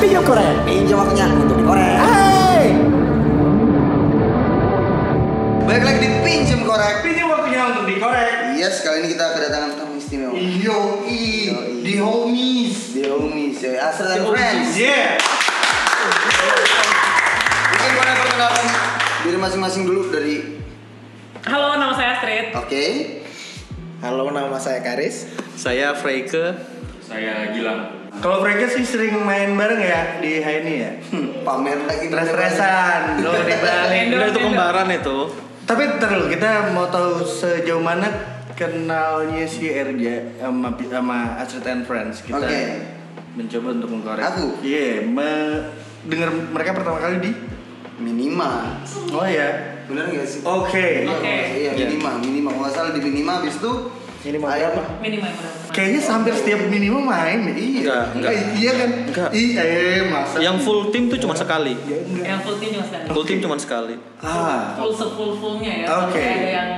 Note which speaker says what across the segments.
Speaker 1: dikorek.
Speaker 2: Pinjam waktunya untuk dikorek.
Speaker 1: Hey,
Speaker 2: Balik lagi di pinjam korek.
Speaker 3: Pinjam waktunya untuk dikorek.
Speaker 2: Yes, kali ini kita kedatangan tamu istimewa.
Speaker 3: Yo i,
Speaker 2: Yoi.
Speaker 3: the homies.
Speaker 2: The homies, yoi. Asher dan Friends.
Speaker 3: Yeah.
Speaker 2: Mungkin korek perkenalkan diri masing-masing dulu dari
Speaker 4: Halo, nama saya Astrid.
Speaker 2: Oke.
Speaker 1: halo nama saya Karis.
Speaker 5: Saya Freike.
Speaker 3: Saya Gilang. Kalau mereka sih sering main bareng ya di ini ya.
Speaker 2: Hmm, Pamer lagi.
Speaker 3: Res-resan, lo di
Speaker 5: Udah
Speaker 3: Bali.
Speaker 4: Endorse,
Speaker 5: itu
Speaker 4: endorse.
Speaker 5: kembaran itu.
Speaker 3: Tapi ntar dulu, kita mau tahu sejauh mana kenalnya si RJ sama, sama Astrid and Friends kita
Speaker 2: Oke.
Speaker 3: mencoba untuk mengkorek.
Speaker 2: Aku?
Speaker 3: Iya, me- dengar mereka pertama kali di.
Speaker 2: Minima.
Speaker 3: Oh ya.
Speaker 2: Bener nggak sih?
Speaker 3: Oke.
Speaker 2: Iya,
Speaker 4: Oke.
Speaker 2: Iya, minima, minima. Kalau nggak salah di minima habis itu
Speaker 1: Minima
Speaker 2: Ayo.
Speaker 1: berapa?
Speaker 4: Minimal berapa?
Speaker 3: Kayaknya hampir setiap minimum main ya? Iya.
Speaker 5: Enggak, enggak.
Speaker 3: Eh, Iya kan?
Speaker 5: Enggak.
Speaker 3: Iya, eh, masa.
Speaker 5: Yang full tim tuh cuma sekali.
Speaker 4: Yang full team cuma sekali.
Speaker 5: Full tim cuma sekali.
Speaker 3: Ah.
Speaker 4: Full sefull fullnya ya.
Speaker 3: Oke.
Speaker 4: Sampai ada yang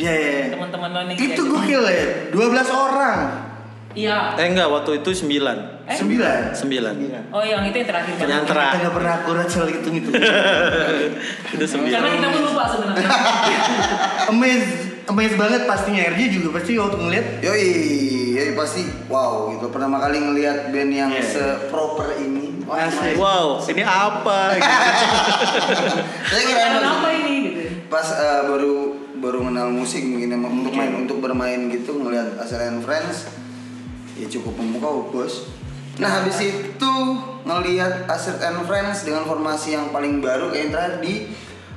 Speaker 3: Iya, iya. iya.
Speaker 4: teman-teman lo nih.
Speaker 3: Itu
Speaker 4: jadi-
Speaker 3: gokil ya. 12 orang.
Speaker 4: Iya.
Speaker 5: Eh enggak, waktu itu 9.
Speaker 4: Eh?
Speaker 3: 9.
Speaker 5: 9.
Speaker 4: Oh, yang itu yang terakhir.
Speaker 5: Yang
Speaker 4: banget.
Speaker 3: Kita
Speaker 5: terakhir.
Speaker 3: nggak pernah akurat soal hitung itu. gitu.
Speaker 5: Itu
Speaker 4: Karena
Speaker 5: 9.
Speaker 4: kita pun lupa sebenarnya.
Speaker 3: amaze, amaze banget pastinya. RJ juga pasti waktu ngeliat
Speaker 2: Yoi, yoi pasti wow gitu. Pertama kali ngelihat band yang
Speaker 3: Iya.
Speaker 2: seproper ini. Wah,
Speaker 3: Asik.
Speaker 5: Wow, ini apa? Gitu.
Speaker 2: Saya kira
Speaker 4: Makanan apa ini gitu.
Speaker 2: pas eh, baru baru kenal musik mungkin emang untuk
Speaker 3: Iya.
Speaker 2: main untuk bermain gitu ngelihat Aslan Friends ya cukup memukau bos nah habis itu ngelihat Asset and Friends dengan formasi yang paling baru kayak yang terakhir di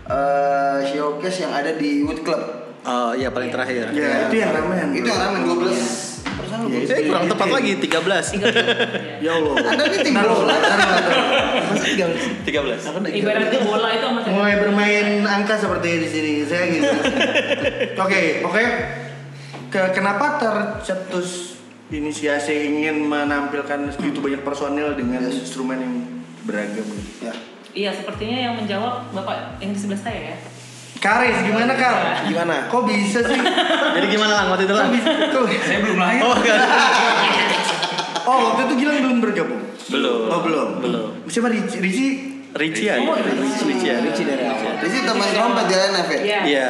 Speaker 2: eh, showcase yang ada di Wood Club
Speaker 5: Oh iya paling terakhir.
Speaker 3: Ya, itu yang ramen.
Speaker 2: itu yang ramen 12 persen
Speaker 3: Iya,
Speaker 2: Bos.
Speaker 3: itu-
Speaker 5: Eh kurang
Speaker 3: itu-
Speaker 5: tepat lagi 13.
Speaker 3: Ya Allah.
Speaker 2: Anda ini tim
Speaker 3: Ntar lu,
Speaker 2: bola.
Speaker 3: ntar lu, ntar lu.
Speaker 1: Masih tiga.
Speaker 5: 13.
Speaker 4: Ibaratnya bola itu sama saya.
Speaker 3: Mulai bermain angka seperti di sini saya gitu. Oke, pokoknya ke- kenapa tercetus inisiasi ingin menampilkan segitu banyak personil dengan instrumen yang beragam?
Speaker 2: ya
Speaker 4: Iya, sepertinya yang menjawab Bapak yang di sebelah saya ya.
Speaker 3: Karis, gimana Kar?
Speaker 1: Gimana?
Speaker 3: Kok bisa sih?
Speaker 5: Jadi gimana lang waktu itu lang?
Speaker 3: Kok-
Speaker 6: Saya belum lahir.
Speaker 5: Oh enggak.
Speaker 4: Iya.
Speaker 3: oh, waktu itu Gilang belum bergabung?
Speaker 5: Belum.
Speaker 3: Oh, belum?
Speaker 5: Belum.
Speaker 3: Siapa Ricci? Ricci?
Speaker 5: Ricci ya.
Speaker 4: Oh,
Speaker 5: Ricci. Ricci ya.
Speaker 1: Ricci dari awal.
Speaker 2: di sini teman trompet jalan F ya
Speaker 4: Iya.
Speaker 5: Iya.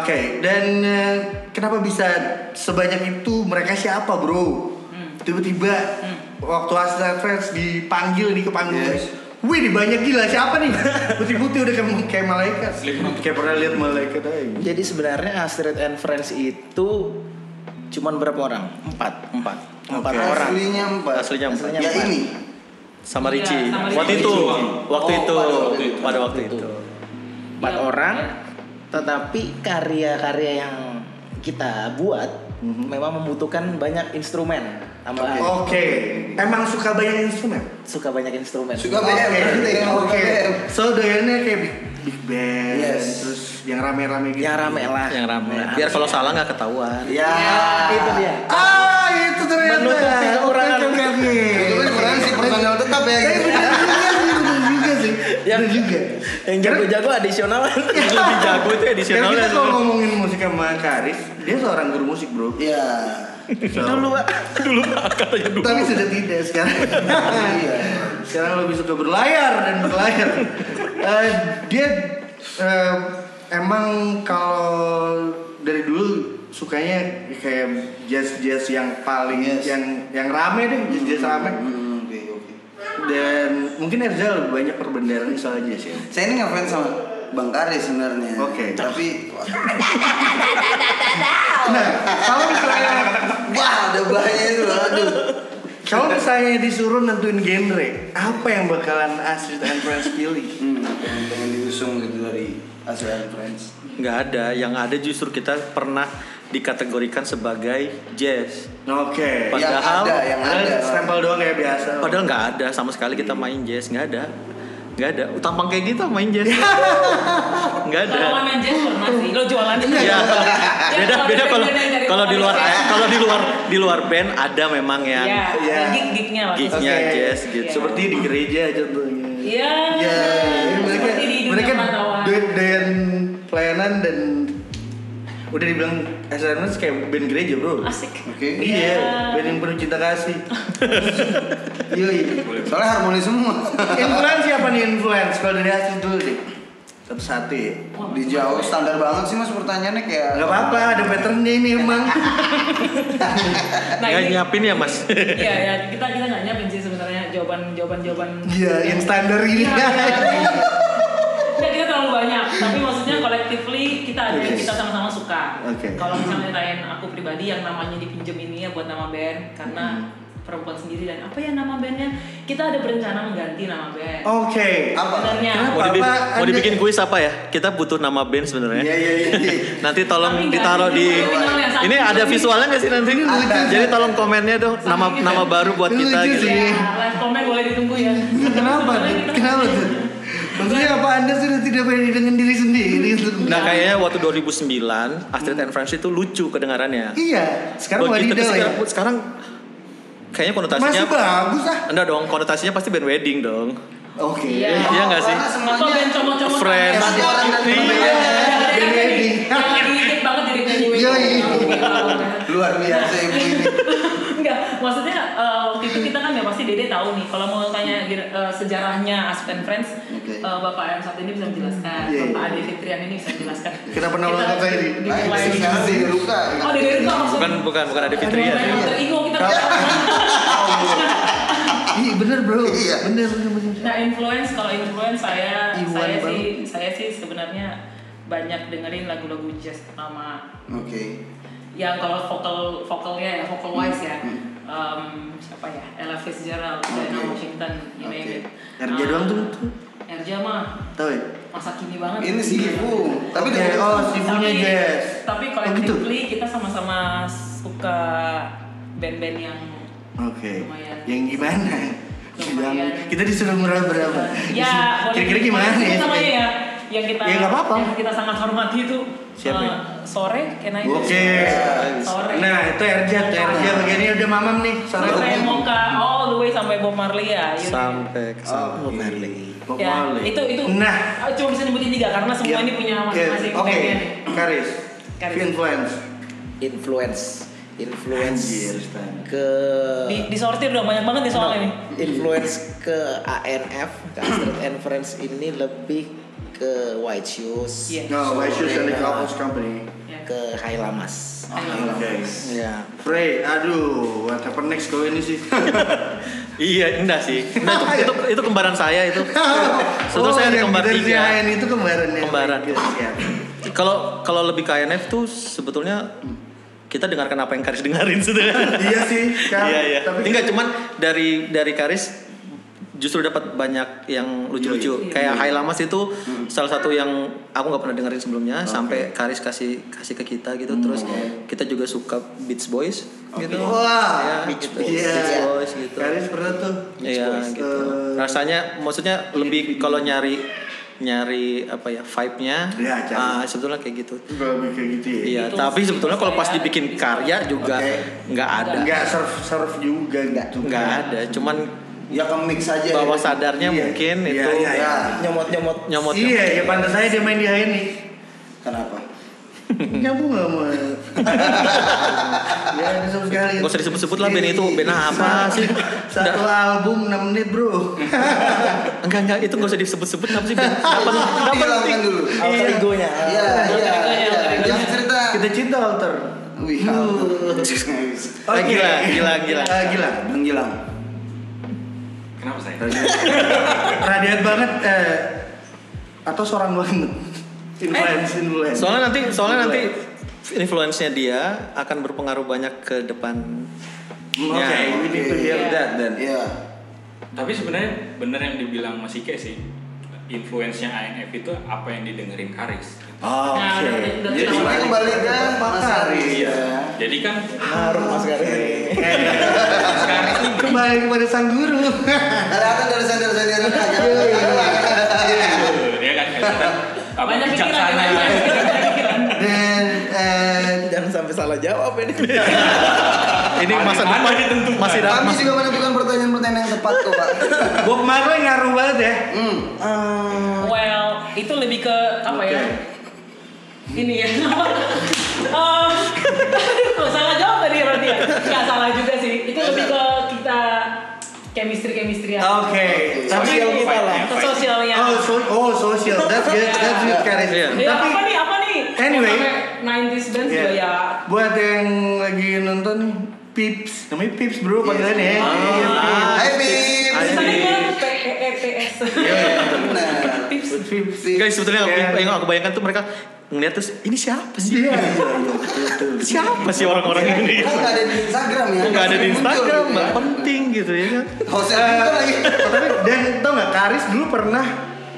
Speaker 3: Oke, dan eh, kenapa bisa sebanyak itu? Mereka siapa bro?
Speaker 1: Hmm.
Speaker 3: Tiba-tiba waktu Aslan Friends dipanggil nih ke panggung
Speaker 2: Yes.
Speaker 3: Wih, ini banyak gila siapa nih? Putih-putih udah kayak, kayak malaikat.
Speaker 6: Slipknot.
Speaker 3: Kayak pernah lihat malaikat aja.
Speaker 1: Jadi sebenarnya Astrid and Friends itu cuman berapa orang? Empat, empat, empat
Speaker 3: Oke.
Speaker 1: orang.
Speaker 2: aslinya empat
Speaker 5: Aslinya empat.
Speaker 2: ya
Speaker 1: Aslinya
Speaker 2: ini
Speaker 5: Sama
Speaker 4: Iya,
Speaker 5: Ricci.
Speaker 4: sama
Speaker 5: Waktu
Speaker 4: Ricci.
Speaker 5: itu. Waktu
Speaker 2: Oh,
Speaker 5: itu.
Speaker 2: pada waktu itu.
Speaker 5: Pada waktu itu.
Speaker 1: Empat
Speaker 4: Iya.
Speaker 1: orang. Tetapi karya-karya yang kita buat
Speaker 5: Mhm.
Speaker 1: memang membutuhkan banyak instrumen
Speaker 3: Oke,
Speaker 1: tambahan.
Speaker 3: emang suka banyak instrumen?
Speaker 1: Suka Oh, banyak instrumen.
Speaker 2: Suka BM,
Speaker 3: Oke,
Speaker 2: oke.
Speaker 3: oke. So doyannya kayak big, big band,
Speaker 2: Yes.
Speaker 3: terus yang rame-rame gitu.
Speaker 1: Yang rame lah.
Speaker 5: Yang ramai. Biar kalau salah nggak ketahuan.
Speaker 3: Iya,
Speaker 2: ya
Speaker 1: Itu dia.
Speaker 3: Ah, itu ternyata.
Speaker 1: Menutupi kekurangan.
Speaker 3: Oke, oke, oke.
Speaker 2: Itu kan kurang sih personal tetap ya.
Speaker 3: Tapi
Speaker 2: gitu.
Speaker 3: bener juga sih, Eh, bener juga
Speaker 5: Iya.
Speaker 3: sih.
Speaker 5: Ya.
Speaker 1: Yang-
Speaker 3: Bener juga.
Speaker 1: Yang jago-jago adisional.
Speaker 5: Yang lebih jago itu
Speaker 3: Karena
Speaker 5: edisionalnya
Speaker 3: kita
Speaker 5: tuh.
Speaker 3: kalau ngomongin musik sama Karis, dia seorang guru musik bro.
Speaker 2: Iya.
Speaker 3: So,
Speaker 1: Dulu, Pak.
Speaker 3: tapi sudah tidak sekarang.
Speaker 2: Iya.
Speaker 3: sekarang lebih suka berlayar dan berlayar. Eh, dia eh, emang kalau dari dulu sukanya kayak jazz jazz yang paling
Speaker 2: Yes.
Speaker 3: yang yang rame deh jazz jazz rame
Speaker 2: Hmm, Oke, oke.
Speaker 3: dan mungkin Erza lebih banyak perbendaharaan soal jazz ya
Speaker 2: Saya ini ngefans sama Bang Kari sebenarnya.
Speaker 3: Oke.
Speaker 2: Tapi
Speaker 3: nah kalau misalnya
Speaker 2: wah ada bahaya itu aduh.
Speaker 3: kalau misalnya disuruh nentuin genre apa yang bakalan Astrid and Friends pilih
Speaker 2: Hmm, apa yang pengen diusung gitu dari Asian Friends.
Speaker 5: Nggak ada, yang ada justru kita pernah dikategorikan sebagai jazz.
Speaker 3: oke
Speaker 5: Padahal-
Speaker 2: yang ada, yang ada.
Speaker 3: Padahal stempel doang ya biasa
Speaker 5: Padahal nggak ada sama sekali kita main jazz, nggak ada, nggak ada. Tampang kayak kita main jazz, nggak
Speaker 4: Kalau nggak
Speaker 5: ada.
Speaker 4: main jazz formasi, lo jualan.
Speaker 5: Ya, beda beda kalau kalau di luar
Speaker 4: ya.
Speaker 5: kalau di luar di luar band ada memang yang
Speaker 4: Iya,
Speaker 3: Iya.
Speaker 4: gig-gignya lah.
Speaker 5: Gignya.
Speaker 3: Oke.
Speaker 5: jazz gitu.
Speaker 3: Ya, Seperti di gereja contohnya.
Speaker 4: Iya.
Speaker 3: Ya, mereka
Speaker 4: Seperti di dunia
Speaker 3: mereka
Speaker 4: perantauan.
Speaker 3: dan pelayanan dan udah dibilang SNMS kayak band gereja bro.
Speaker 4: Asik.
Speaker 2: Oke.
Speaker 3: Iya,
Speaker 4: Iya.
Speaker 3: band yang penuh cinta kasih.
Speaker 2: Iya, iya. Soalnya harmonis semua.
Speaker 3: influence siapa nih influence? Kalau dari Asis dulu deh. Satu-satu ya.
Speaker 2: Di jauh standar banget sih mas pertanyaannya kayak.
Speaker 3: Gak apa-apa, ada patternnya ini emang.
Speaker 4: Nah,
Speaker 5: Nggak
Speaker 4: ini-
Speaker 5: nyiapin ya mas
Speaker 4: Iya ya kita kita nggak nyiapin sih sebenarnya jawaban jawaban jawaban.
Speaker 3: Iya, yang standar ini.
Speaker 4: Iya, iya. Nggak kita terlalu banyak, tapi maksudnya collectively kita ada yang
Speaker 3: Oke.
Speaker 4: kita sama-sama suka.
Speaker 3: Oke.
Speaker 4: Kalau misalnya ditanyain aku pribadi yang namanya dipinjem ini ya buat nama band karena
Speaker 3: Mm-hmm.
Speaker 4: perempuan sendiri dan apa ya nama bandnya? Kita ada berencana mengganti nama band.
Speaker 3: Oke.
Speaker 2: Apa?
Speaker 4: Sebenarnya.
Speaker 3: Oh, Kenapa?
Speaker 5: mau, dibi-
Speaker 3: Apa
Speaker 5: mau
Speaker 3: Anda-
Speaker 5: dibikin kuis apa ya kita butuh nama band sebenarnya
Speaker 2: Iya iya iya. iya.
Speaker 5: nanti tolong
Speaker 4: Tapi nggak
Speaker 5: ditaruh
Speaker 4: ada
Speaker 5: di
Speaker 4: visualnya, saking
Speaker 5: ini ada
Speaker 4: lucunya.
Speaker 5: visualnya nggak sih nanti
Speaker 2: Ada.
Speaker 5: jadi tolong komennya dong nama
Speaker 4: Saking
Speaker 5: nama
Speaker 4: lucu.
Speaker 5: baru buat kita
Speaker 3: Lucu
Speaker 5: gitu
Speaker 3: sih.
Speaker 4: Ya, live comment boleh ditunggu ya.
Speaker 3: Kenapa?
Speaker 4: Soalnya
Speaker 3: Dit?
Speaker 4: kita-
Speaker 3: Kenapa tuh? Maksudnya apa Anda sudah tidak pede dengan diri sendiri?
Speaker 5: nah kayaknya waktu 2009 Astrid and Friends itu lucu kedengarannya
Speaker 3: Iya, sekarang
Speaker 5: Buat kita
Speaker 3: wadidaw ya.
Speaker 5: sekarang, sekarang kayaknya konotasinya
Speaker 3: Masih bagus ah.
Speaker 5: enggak dong konotasinya pasti band wedding dong
Speaker 3: Oke.
Speaker 4: Iya.
Speaker 5: iya nggak sih
Speaker 2: Karena
Speaker 4: Atau
Speaker 2: semuanya
Speaker 4: band comot-comot
Speaker 5: Friends.
Speaker 2: Emang orang dan
Speaker 5: Iya.
Speaker 4: Ada yang
Speaker 3: Jadi.
Speaker 4: ngedit iya, banget jadi penyanyi
Speaker 3: Iya, iya.
Speaker 2: luar biasa ibu ini.
Speaker 4: Enggak, maksudnya eh, waktu itu kita kan ya pasti Dede tahu nih kalau mau tanya eh, sejarahnya Aspen Friends,
Speaker 2: Oke.
Speaker 4: eh, Bapak M satu ini bisa menjelaskan,
Speaker 3: Iya, iya.
Speaker 4: Bapak Ade Fitrian ini bisa menjelaskan.
Speaker 3: Kita pernah ulang kata ini.
Speaker 4: di-
Speaker 2: Nah,
Speaker 4: dimulai.
Speaker 2: itu sekarang di Ruka.
Speaker 4: Oh, Dede itu maksudnya.
Speaker 5: bukan bukan bukan ada Fitria
Speaker 4: Bukan,
Speaker 5: sih
Speaker 4: alter ego kita.
Speaker 3: Iya, bener bro.
Speaker 2: Iya.
Speaker 3: Bener, bener, bener.
Speaker 4: Nah influence kalau influence saya
Speaker 3: Iwan
Speaker 4: saya
Speaker 3: banget.
Speaker 4: sih saya sih sebenarnya banyak dengerin lagu-lagu jazz pertama
Speaker 2: Oke.
Speaker 4: yang Ya, kalau vokal vokalnya ya vokal wise ya
Speaker 3: Hmm.
Speaker 4: Em, siapa ya Ella Fitzgerald, Diana
Speaker 2: Oke.
Speaker 4: Washington, you name
Speaker 2: Oke.
Speaker 4: it.
Speaker 3: Kerja
Speaker 4: Ah,
Speaker 3: doang tuh. tuh.
Speaker 4: Erja mah
Speaker 3: Tahu ya?
Speaker 4: masa kini banget. Iya.
Speaker 2: Ini si ibu. Tapi
Speaker 3: Oke,
Speaker 2: dari
Speaker 3: oh si punya
Speaker 4: Tapi-
Speaker 3: jazz.
Speaker 4: Tapi
Speaker 3: Oh, gitu.
Speaker 4: collectively kita sama-sama suka band-band yang
Speaker 3: Oke.
Speaker 4: Lumayan.
Speaker 3: Yang gimana?
Speaker 4: Lumayan.
Speaker 3: Yang kita disuruh murah berapa?
Speaker 4: ya boleh
Speaker 3: Iya, Kira-kira gimana
Speaker 4: boleh
Speaker 3: ya?
Speaker 4: sebut namanya ya yang kita
Speaker 3: Ya, nggak apa-apa.
Speaker 4: yang kita sangat hormati itu
Speaker 5: Siapa ya?
Speaker 4: eh, sore kena itu
Speaker 3: Oke.
Speaker 4: sore
Speaker 3: Nah, itu Erja, tuh Erja
Speaker 4: Ah.
Speaker 3: bagian ini udah mamam nih. Sore.
Speaker 4: sore moka all the way sampai Bob Marley ya you know.
Speaker 5: sampai ke sana
Speaker 3: iya.
Speaker 2: Oh, Merlin.
Speaker 3: Bob
Speaker 4: ya
Speaker 3: Marley.
Speaker 4: itu itu
Speaker 3: Nah. Iya.
Speaker 4: eh, cuma bisa nyebutin tiga karena semua ini punya masing-masing
Speaker 3: Oke.
Speaker 4: tagnya nih.
Speaker 3: Karis.
Speaker 4: Karis.
Speaker 3: Influence.
Speaker 1: influence influence
Speaker 3: Anjir, Stan.
Speaker 1: ke
Speaker 4: di disortir dong banyak banget nih soalnya nih
Speaker 1: influence ke ANF ke Astrid and Friends ini lebih ke White Shoes
Speaker 4: Iya.
Speaker 3: No, I should sell
Speaker 1: Sore.
Speaker 3: it to Apple's company.
Speaker 4: Ya.
Speaker 1: ke High Lamas ya
Speaker 3: Frey, aduh, what happened next kau ini sih?
Speaker 5: Oh, iya enggak sih Nah, itu, itu itu kembaran saya itu Sebetulnya saya ada
Speaker 3: Oh, yang
Speaker 5: iya, kembar
Speaker 3: dari
Speaker 5: tiga.
Speaker 3: CIN itu kembarannya.
Speaker 5: Kembaran.
Speaker 3: Siap.
Speaker 5: kalau kalau lebih ke INF tuh sebetulnya kita dengarkan apa yang Karis dengerin sebenarnya
Speaker 3: Iya sih, Kak.
Speaker 5: iya iya
Speaker 3: Tapi
Speaker 5: enggak cuman dari dari Karis justru dapat banyak yang lucu-lucu
Speaker 4: Iya, iya.
Speaker 5: kayak Hai Lamas itu
Speaker 3: Hmm.
Speaker 5: salah satu yang aku nggak pernah dengerin sebelumnya sampai Karis kasih kasih ke kita gitu
Speaker 3: Hmm,
Speaker 5: terus kita juga suka Beach Boys gitu
Speaker 3: Wah,
Speaker 5: Iya,
Speaker 3: Beach
Speaker 5: gitu.
Speaker 3: Boys.
Speaker 5: Beach
Speaker 3: Iya.
Speaker 5: Boys gitu
Speaker 3: Karis pernah tuh.
Speaker 5: Iya gitu.
Speaker 3: Eh, iya,
Speaker 5: Rasanya maksudnya lebih kalau nyari nyari apa ya vibe-nya
Speaker 3: Iya, cari.
Speaker 5: ah, sebetulnya kayak gitu.
Speaker 3: Lebih kayak gitu ya.
Speaker 5: Iya,
Speaker 4: Itu
Speaker 5: tapi
Speaker 4: sih
Speaker 5: sebetulnya kalau pas
Speaker 4: saya-
Speaker 5: dibikin karya juga
Speaker 3: Oke.
Speaker 5: nggak ada.
Speaker 3: Enggak surf surf juga gitu.
Speaker 5: Nggak ada, cuman
Speaker 2: Ya ke mix aja. ya.
Speaker 5: bawah sadarnya
Speaker 3: Iya.
Speaker 5: mungkin
Speaker 3: Iya,
Speaker 5: itu
Speaker 3: iya, iya.
Speaker 1: nyomot-nyomot
Speaker 5: nyomot
Speaker 3: Iya, ya pantas saya dia main di HN nih.
Speaker 2: Kenapa?
Speaker 3: Nyambung nggak mau? Gak ada sama sekali.
Speaker 5: Nggak usah disebut-sebut lah, band itu. Band apa sih?
Speaker 3: Satu album 6 menit bro.
Speaker 5: enggak enggak itu nggak usah disebut-sebut apa sih? Ben? Nggak penting,
Speaker 3: Iya,
Speaker 5: nggak penting.
Speaker 2: Hilangkan dulu.
Speaker 1: alter egonya
Speaker 2: Iya iya. iya. Jangan cerita.
Speaker 3: Kita cinta alter.
Speaker 2: Wih.
Speaker 5: Ah, gila, gila, gila.
Speaker 3: Ah, gila.
Speaker 2: Bang Gilang.
Speaker 6: Kenapa saya?
Speaker 3: Radian banget eh, atau seorang banget. Influence, influence.
Speaker 5: Soalnya nanti soalnya nanti
Speaker 3: Iya.
Speaker 5: influence-nya dia akan berpengaruh banyak ke depan.
Speaker 3: Hmm, Oke,
Speaker 5: Ya.
Speaker 3: we need to hear
Speaker 4: Iya.
Speaker 3: that then.
Speaker 2: Iya.
Speaker 6: Tapi sebenarnya bener yang dibilang Mas Ike sih influence-nya INF itu apa yang didengerin Karis.
Speaker 3: Oh,
Speaker 4: Nah,
Speaker 3: Oke.
Speaker 4: udah- udah-
Speaker 2: Jadi semuanya kembali ke Mas Ari. Iya.
Speaker 6: Jadi kan
Speaker 1: harum mas Karin
Speaker 6: Mas Karis ini
Speaker 3: Kembali kepada sang guru.
Speaker 2: Ada ada dari sender sender aja.
Speaker 6: ya kan kita apa
Speaker 4: banyak pikiran
Speaker 6: bijaksana.
Speaker 4: banyak pikiran.
Speaker 3: Dan eh,
Speaker 1: jangan sampai salah jawab ini
Speaker 5: Ini
Speaker 6: Ada-
Speaker 5: masa
Speaker 6: ada
Speaker 5: depan
Speaker 6: ditentukan.
Speaker 5: masih
Speaker 2: Kami
Speaker 5: masih
Speaker 2: juga menentukan pertanyaan-pertanyaan yang tepat kok Pak.
Speaker 3: Bob Marley ngaruh banget ya.
Speaker 2: Hmm.
Speaker 4: Well, itu lebih ke apa ya?
Speaker 3: Oke.
Speaker 4: Ini ya. eh, Aduh, salah jawab tadi berarti ya. Nggak salah juga sih. Itu lebih ke kita chemistry-chemistry aja.
Speaker 3: Oke, tapi
Speaker 1: Sosial kita lah.
Speaker 4: Ke sosialnya.
Speaker 3: oh, so, oh social, that's good, that's good Karis.
Speaker 5: Iya.
Speaker 4: Ya,
Speaker 3: Tapi
Speaker 4: apa nih? Apa nih?
Speaker 3: Anyway.
Speaker 4: Sampai 90s bands juga
Speaker 3: Iya.
Speaker 4: ya.
Speaker 3: buat yang lagi nonton nih, Pips, namanya Pips bro, panggilan
Speaker 5: Ah.
Speaker 3: ya. Iya, Pips.
Speaker 2: Hai Bim.
Speaker 5: Hai,
Speaker 4: Tadi kan PEEPS.
Speaker 2: Nah,
Speaker 4: Tips.
Speaker 3: Pips.
Speaker 5: Guys sebetulnya
Speaker 3: Iya.
Speaker 5: yang aku bayangkan tuh mereka ngeliat terus ini siapa sih?
Speaker 3: Iya.
Speaker 5: Siapa sih orang-orang ini?
Speaker 2: kok nggak ada di Instagram ya?
Speaker 5: Kok nggak ada di
Speaker 3: Iya.
Speaker 2: Muncul
Speaker 5: Instagram?
Speaker 2: gitu ya?
Speaker 5: Nggak penting gitu ya kan?
Speaker 2: Hostnya
Speaker 3: Eh,
Speaker 2: pintu lagi.
Speaker 3: tapi dan tau nggak Karis dulu pernah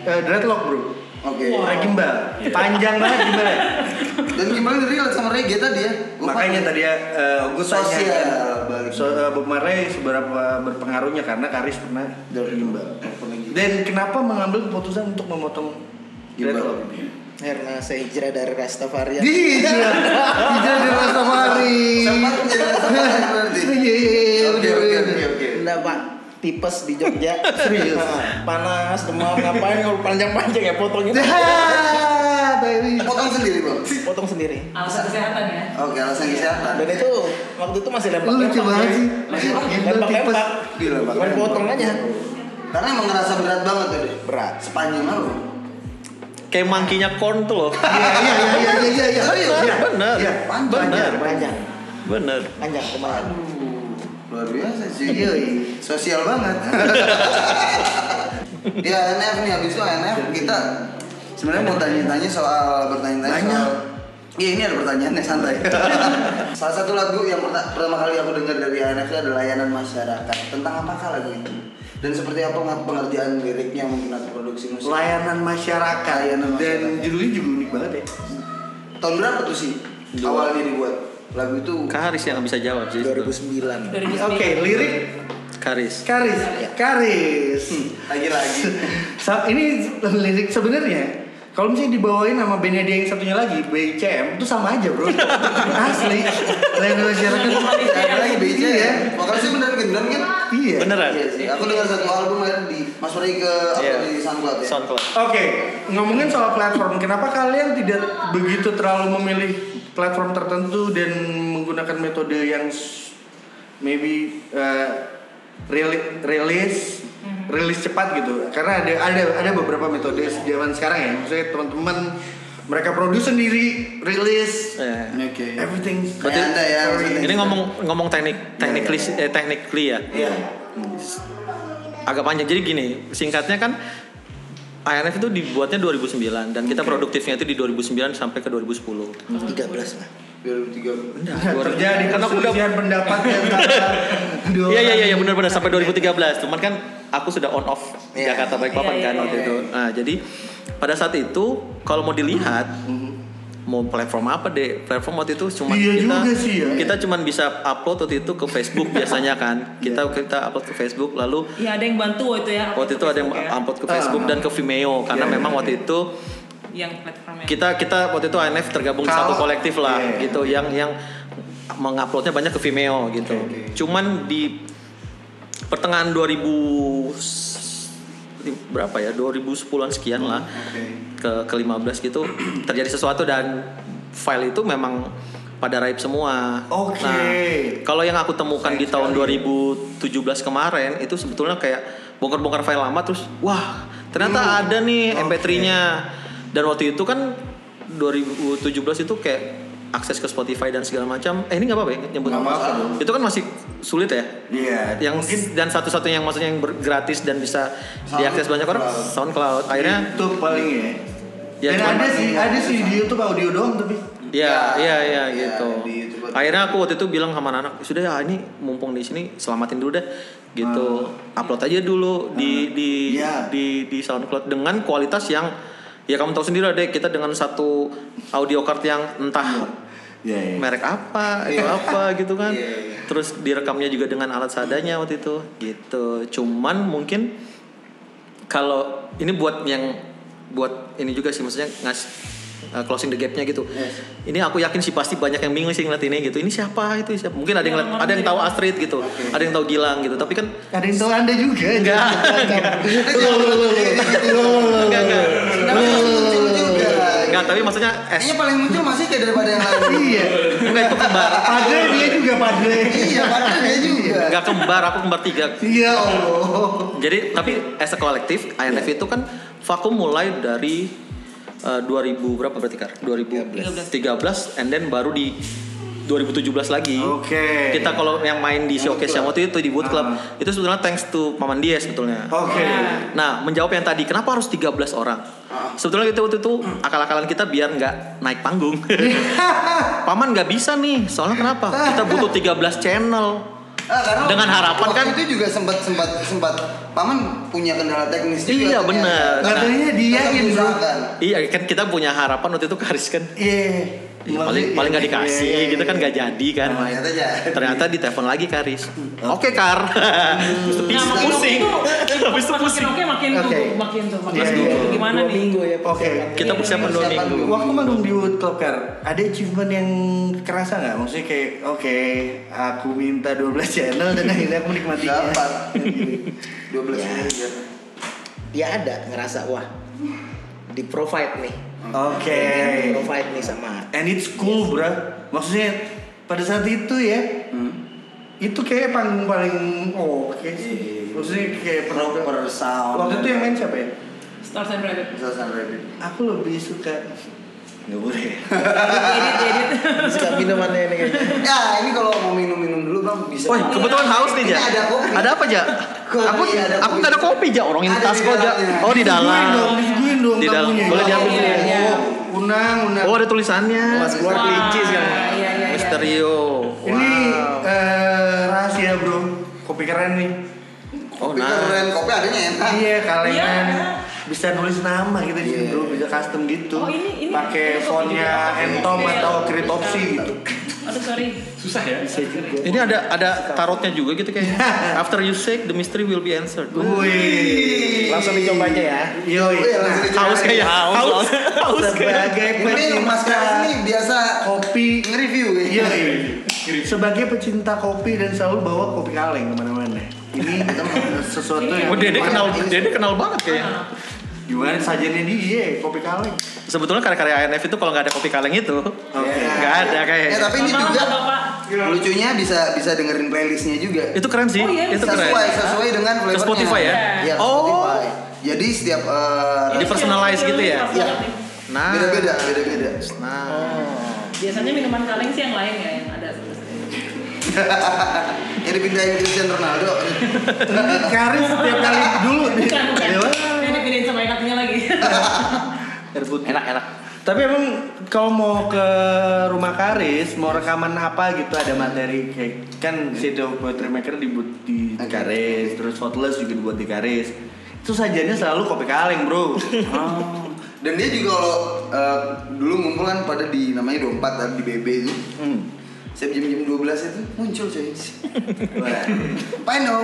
Speaker 3: eh, dreadlock bro,
Speaker 2: Oke.
Speaker 3: Kayak gimbal, panjang banget gimbalnya.
Speaker 2: Dan gimana relate sama Regi tadi ya? Gua
Speaker 3: Makanya tadi ya, gue tanya
Speaker 2: Sosial,
Speaker 3: kan,
Speaker 2: balik.
Speaker 3: so, eh, Bob Marley seberapa berpengaruhnya karena Karis pernah gimbal. Dan kenapa mengambil keputusan untuk memotong
Speaker 2: Gimbal.
Speaker 3: dreadlock?
Speaker 1: karena saya hijrah dari Rastafarian
Speaker 3: Gila, tidak Iya. di Rastafari.
Speaker 2: Sempat jadi Rastafari berarti.
Speaker 3: Iya, iya,
Speaker 2: Oke,
Speaker 3: iya, udah,
Speaker 2: oke,
Speaker 3: udah.
Speaker 2: oke, oke.
Speaker 1: Enggak Nah, pak tipes di Jogja
Speaker 3: Serius?
Speaker 1: Nah, panas demam ngapain kalau panjang-panjang ya potongin
Speaker 3: Dah, baby.
Speaker 2: Potong sendiri, Bang.
Speaker 1: potong sendiri
Speaker 4: Alasan kesehatan ya.
Speaker 2: Oke, alasan kesehatan.
Speaker 1: dan itu waktu itu masih
Speaker 3: Lu
Speaker 1: lempar
Speaker 3: lucu banget sih. Gimbal tipes.
Speaker 1: lempar-lempar
Speaker 2: Gila, Bang.
Speaker 1: main potong aja
Speaker 2: Karena emang ngerasa berat banget tadi.
Speaker 1: Berat.
Speaker 2: Sepanjang lalu.
Speaker 5: Kayak mangkinya corn tuh loh.
Speaker 3: Iya, iya, iya, iya, iya, iya. Iya,
Speaker 5: Bener,
Speaker 3: iya.
Speaker 5: bener,
Speaker 1: panjang
Speaker 5: bener.
Speaker 1: panjang lumayan
Speaker 2: Luar biasa sih.
Speaker 3: Iya, iya.
Speaker 2: Sosial banget. ya NF nih habis itu NF kita sebenarnya mau tanya-tanya soal bertanya-tanya
Speaker 3: Banyak.
Speaker 2: soal Iya ini ada pertanyaannya santai. Salah satu lagu yang perta- pertama kali aku dengar dari ANF itu adalah layanan masyarakat. Tentang apakah lagu itu? Dan seperti apa nge- pengerjaan liriknya mungkin atau produksi musik?
Speaker 3: Layanan masyarakat.
Speaker 2: Layanan
Speaker 3: Dan
Speaker 2: masyarakat.
Speaker 3: judulnya juga unik banget ya.
Speaker 2: Tahun berapa tuh sih
Speaker 5: Dua.
Speaker 2: awalnya dibuat lagu itu?
Speaker 5: Karis yang bisa jawab sih. sebetulnya.
Speaker 1: 2009
Speaker 4: 2009.
Speaker 3: Oke, lirik
Speaker 5: Karis.
Speaker 3: Karis. Karis.
Speaker 2: Lagi-lagi.
Speaker 3: Sa- ini lirik sebenarnya kalau misalnya dibawain sama bandnya dia yang satunya lagi BCM itu sama aja bro asli layanan masyarakat
Speaker 2: Ada lagi BC
Speaker 3: Iya.
Speaker 2: ya. Makasih bener-bener kan?
Speaker 3: iya
Speaker 5: Beneran?
Speaker 2: Iya sih. Aku dengar satu album ada di Mas Roy ke apa
Speaker 5: Iya.
Speaker 2: di SoundCloud ya.
Speaker 5: SoundCloud.
Speaker 3: Oke, ngomongin soal platform, kenapa kalian tidak begitu terlalu memilih platform tertentu dan menggunakan metode yang s- maybe uh, rili- rilis
Speaker 5: Mm-hmm.
Speaker 3: rilis cepat gitu? Karena ada ada ada beberapa metode
Speaker 5: Iya.
Speaker 3: zaman sekarang ya. Misalnya teman-teman mereka produce sendiri, rilis
Speaker 5: Eh.
Speaker 2: Oke.
Speaker 3: everything.
Speaker 2: Berarti- ya,
Speaker 3: Kayak
Speaker 2: Sorry.
Speaker 5: Ini ngomong ngomong teknik technically eh, technically ya.
Speaker 3: Iya.
Speaker 5: Agak panjang. Jadi gini, singkatnya kan INF itu dibuatnya 2009 dan kita produktifnya itu di 2009 sampai ke 2010.
Speaker 1: 13 lah
Speaker 2: 2003.
Speaker 3: terjadi
Speaker 5: Karena aku udah
Speaker 3: perselisihan pendapat yang antara dua
Speaker 5: Iya iya
Speaker 3: orang.
Speaker 5: iya ya, benar-benar sampai 2013. Cuman kan aku sudah on off
Speaker 1: Iya.
Speaker 5: Jakarta Balikpapan
Speaker 4: Iya,
Speaker 5: kan
Speaker 4: iya,
Speaker 5: waktu
Speaker 4: iya.
Speaker 5: itu. Nah, jadi pada saat itu kalau mau dilihat mau platform apa deh? Platform waktu itu cuma
Speaker 3: Iya
Speaker 5: kita
Speaker 3: juga sih ya.
Speaker 5: kita cuman bisa upload waktu itu ke Facebook biasanya kan. Kita kita upload ke Facebook lalu
Speaker 4: Ya ada yang bantu waktu itu ya.
Speaker 5: waktu itu ada yang
Speaker 4: Facebook ya.
Speaker 5: upload ke Facebook dan ke Vimeo karena
Speaker 3: Iya,
Speaker 5: memang
Speaker 3: iya,
Speaker 5: waktu itu
Speaker 4: yang ya. platformnya.
Speaker 5: kita kita waktu itu ANF tergabung di satu
Speaker 3: Kalau-
Speaker 5: kolektif lah
Speaker 3: Iya, iya.
Speaker 5: gitu yang yang menguploadnya banyak ke Vimeo gitu. Cuman di pertengahan 2000 berapa ya 2010-an sekian lah ke ke 15 gitu terjadi sesuatu dan file itu memang pada raib semua. Nah,
Speaker 3: Oke.
Speaker 5: kalau yang aku temukan di tahun 2017 kemarin itu sebetulnya kayak bongkar-bongkar file lama terus wah ternyata ada nih
Speaker 3: oke.
Speaker 5: MP3-nya. Dan waktu itu kan 2017 itu kayak akses ke Spotify dan segala macam. Eh ini nggak apa-apa ya nyebut
Speaker 2: Nggak
Speaker 5: nama.
Speaker 2: masalah.
Speaker 5: Itu kan masih sulit ya
Speaker 3: Iya.
Speaker 5: yang dan satu-satunya yang maksudnya yang ber- gratis dan bisa diakses banyak orang SoundCloud akhirnya
Speaker 3: YouTube paling ya.
Speaker 5: Ya,
Speaker 3: Dan
Speaker 5: cuman-
Speaker 3: ada sih, ada sih di YouTube audio doang tapi.
Speaker 5: ya ya
Speaker 2: Ya,
Speaker 5: ya
Speaker 2: ya,
Speaker 5: gitu
Speaker 2: di YouTube.
Speaker 5: akhirnya aku waktu itu bilang sama anak sudah ya ini mumpung di sini selamatin dulu deh gitu upload aja dulu di di
Speaker 3: Ah. Ya.
Speaker 5: di di SoundCloud dengan kualitas yang ya kamu tahu sendiri lah deh kita dengan satu audio card yang entah
Speaker 3: Iya.
Speaker 5: merek apa itu apa gitu kan terus direkamnya juga dengan alat seadanya waktu itu gitu cuman mungkin kalau ini buat yang buat ini juga sih maksudnya ngas uh, closing the gapnya gitu ini aku yakin sih pasti banyak yang bingung sih ngeliat ini gitu ini siapa itu siapa mungkin ada yang
Speaker 4: Ya,
Speaker 5: ngeliat-
Speaker 4: orang
Speaker 5: ada yang tahu
Speaker 4: jadi-
Speaker 5: Astrid gitu ada yang tahu Gilang gitu tapi kan
Speaker 3: Ada yang tahu anda juga.
Speaker 5: enggak enggak
Speaker 2: Itu
Speaker 5: enggak
Speaker 2: juga.
Speaker 5: enggak Enggak, tapi maksudnya es
Speaker 2: Kayaknya paling muncul masih kayak daripada yang lain.
Speaker 3: Iya.
Speaker 5: enggak itu kan kembar.
Speaker 3: Padre dia juga padre.
Speaker 5: Nah.
Speaker 2: iya, padahal dia juga.
Speaker 5: Enggak kembar, aku kembar tiga.
Speaker 3: Iya Allah.
Speaker 5: Jadi tapi as a kolektif INF itu kan vakum mulai dari eh, 2000 berapa berarti Kar? 2013 and then baru di 2017 lagi.
Speaker 3: Oke.
Speaker 5: Kita kalau yang main di showcase yang waktu itu di Boot Club
Speaker 3: Ah.
Speaker 5: itu sebetulnya thanks to Paman Diaz sebetulnya.
Speaker 3: Oke.
Speaker 5: Nah, menjawab yang tadi, kenapa harus 13 orang?
Speaker 3: Ah.
Speaker 5: Sebetulnya itu waktu itu akal-akalan kita biar nggak naik panggung. Paman nggak bisa nih, soalnya kenapa? Kita butuh 13 channel.
Speaker 2: Ah, karena
Speaker 5: Dengan harapan
Speaker 2: waktu
Speaker 5: kan-
Speaker 2: itu juga sempat sempat sempat paman punya kendala teknis juga.
Speaker 5: Iya,
Speaker 2: ternyata.
Speaker 5: benar.
Speaker 3: Katanya dia
Speaker 2: Tetap
Speaker 3: ini Iya, bro.
Speaker 2: usahakan.
Speaker 5: Iya, kan kita punya harapan waktu itu ke Haris kan.
Speaker 3: Iya.
Speaker 5: Ya, paling paling nggak dikasih,
Speaker 3: Iya.
Speaker 5: gitu kan nggak jadi kan.
Speaker 2: Ternyata aja.
Speaker 5: Ternyata ditelepon lagi Karis. Oke Kar. Terus
Speaker 4: Nah,
Speaker 5: pusing.
Speaker 4: makin pusing.
Speaker 5: Habis itu
Speaker 4: Pas makin
Speaker 5: pusing.
Speaker 4: oke makin tuh,
Speaker 3: Oke.
Speaker 4: makin tuh, makin
Speaker 3: Iya,
Speaker 4: tuh.
Speaker 3: iya.
Speaker 4: Gimana
Speaker 1: Dua
Speaker 4: nih?
Speaker 1: minggu ya.
Speaker 3: Oke.
Speaker 1: persiapan.
Speaker 5: Kita persiapan dua
Speaker 2: Persiapan
Speaker 5: minggu.
Speaker 2: dulu.
Speaker 3: Waktu manggung di Wood Club Car, ada achievement yang kerasa nggak? Maksudnya kayak, oke, aku minta 12 channel dan akhirnya aku menikmati.
Speaker 2: Dapat. 12
Speaker 1: Ya.
Speaker 2: menit ya.
Speaker 1: Dia ada ngerasa wah di provide nih.
Speaker 3: Oke.
Speaker 1: Di provide nih sama.
Speaker 3: And it's cool, bro. Maksudnya pada saat itu ya,
Speaker 2: Hmm.
Speaker 3: itu kayak panggung paling oke sih. Maksudnya kayak
Speaker 2: Proper sound.
Speaker 3: Waktu itu yang main siapa ya?
Speaker 4: Stars and Rabbit.
Speaker 2: Suasana Reddit.
Speaker 3: Aku lebih suka. Nggak boleh. ya?
Speaker 4: Edit, edit.
Speaker 1: Suka minumannya ini kayaknya.
Speaker 2: Ya, ini kalau mau minum-minum dulu Bang bisa.
Speaker 5: Woi, kebetulan haus nih, Ja.
Speaker 2: Ini ada kopi.
Speaker 5: Ada apa, Ja? aku
Speaker 2: Kopi, ada
Speaker 5: aku
Speaker 2: kopi.
Speaker 5: nggak ada kopi, Ja. Orang ini
Speaker 2: Ada di
Speaker 5: tas kok, Ja.
Speaker 2: dalamnya.
Speaker 5: Oh, di
Speaker 3: Disuguhin dong,
Speaker 5: dalam.
Speaker 3: disuguhin dong
Speaker 5: Di dalam.
Speaker 3: tamunya.
Speaker 5: Boleh diambil
Speaker 4: Iya,
Speaker 5: dulu.
Speaker 4: iya.
Speaker 3: Oh, Unang, unang.
Speaker 5: Oh, ada tulisannya.
Speaker 1: Mas keluar
Speaker 4: Wah,
Speaker 1: kelinci sekarang.
Speaker 4: Iya, iya, iya.
Speaker 5: Misterio.
Speaker 3: Ini
Speaker 5: Wow.
Speaker 3: eh, rahasia bro, kopi keren nih.
Speaker 5: Oh,
Speaker 2: Kopi keren,
Speaker 5: nah.
Speaker 2: kopi adanya enak.
Speaker 3: Iya kalengan,
Speaker 4: Iya.
Speaker 3: bisa nulis nama gitu di sini
Speaker 2: Iya.
Speaker 3: bro, bisa custom gitu.
Speaker 4: Oh, ini- ini-
Speaker 3: Pakai
Speaker 4: ini kopi
Speaker 3: fontnya
Speaker 4: juga.
Speaker 3: Entom
Speaker 4: Iya.
Speaker 3: atau Kritopsi gitu.
Speaker 4: Aduh, sorry.
Speaker 6: Susah ya.
Speaker 5: Ini ada ada tarotnya juga gitu kayaknya. After you shake, the mystery will be answered.
Speaker 3: Wih,
Speaker 1: Langsung dicoba aja ya.
Speaker 4: Oh,
Speaker 3: yoi.
Speaker 4: iya,
Speaker 2: Wih, Oh, iya, langsung dicoba.
Speaker 5: Haus kayak ya. haus. Haus kayak.
Speaker 3: Sebagai
Speaker 2: Ini Mas
Speaker 3: pecinta
Speaker 2: Karas ini biasa
Speaker 3: kopi,
Speaker 2: nge-review ya.
Speaker 5: Iya,
Speaker 3: yoi. Sebagai pecinta kopi dan selalu bawa kopi kaleng kemana-mana. Ini sesuatu
Speaker 4: Iya.
Speaker 3: yang
Speaker 5: Oh, Dede kenal Dede kenal banget kayaknya.
Speaker 3: gimana sajennya dia kopi kaleng.
Speaker 5: Sebetulnya karya-karya INF itu kalau nggak ada kopi kaleng itu
Speaker 3: Oke. Iya,
Speaker 5: nggak ada
Speaker 2: Ya,
Speaker 5: kayaknya.
Speaker 2: tapi ini
Speaker 4: Selamat
Speaker 2: juga
Speaker 4: malam, Bapak.
Speaker 2: lucunya bisa bisa dengerin playlistnya juga.
Speaker 5: Itu keren sih.
Speaker 4: Oh, iya.
Speaker 5: Itu keren.
Speaker 2: sesuai sesuai dengan
Speaker 5: Ke
Speaker 2: flavornya.
Speaker 5: Spotify ya.
Speaker 2: Iya,
Speaker 5: Oh.
Speaker 2: Spotify. Jadi setiap eh,
Speaker 5: Di personalize gitu ya?
Speaker 4: Iya.
Speaker 5: Nah.
Speaker 2: beda-beda, beda-beda.
Speaker 3: Oh.
Speaker 5: Nah.
Speaker 4: Biasanya minuman kaleng sih yang lain ya yang ada.
Speaker 2: Yang dipindahin Cristiano Ronaldo.
Speaker 3: Karis setiap kali dulu nih. Iya.
Speaker 4: Bukan, bukan.
Speaker 3: Dewa.
Speaker 4: Ini dipindahin sama yang satunya lagi.
Speaker 5: Enak enak.
Speaker 3: Tapi emang kalau mau ke rumah Karis, mau rekaman apa gitu ada materi kayak kan City of Poetry Maker dibuat di
Speaker 2: Oke.
Speaker 3: Karis, terus Thoughtless juga dibuat di Karis. Itu sajiannya selalu kopi kaleng, Bro.
Speaker 2: Dan dia juga kalau eh, dulu ngumpul kan pada di namanya 24 ada kan, di BB itu. Setiap jam-jam 12 itu muncul coy. Wah, Pano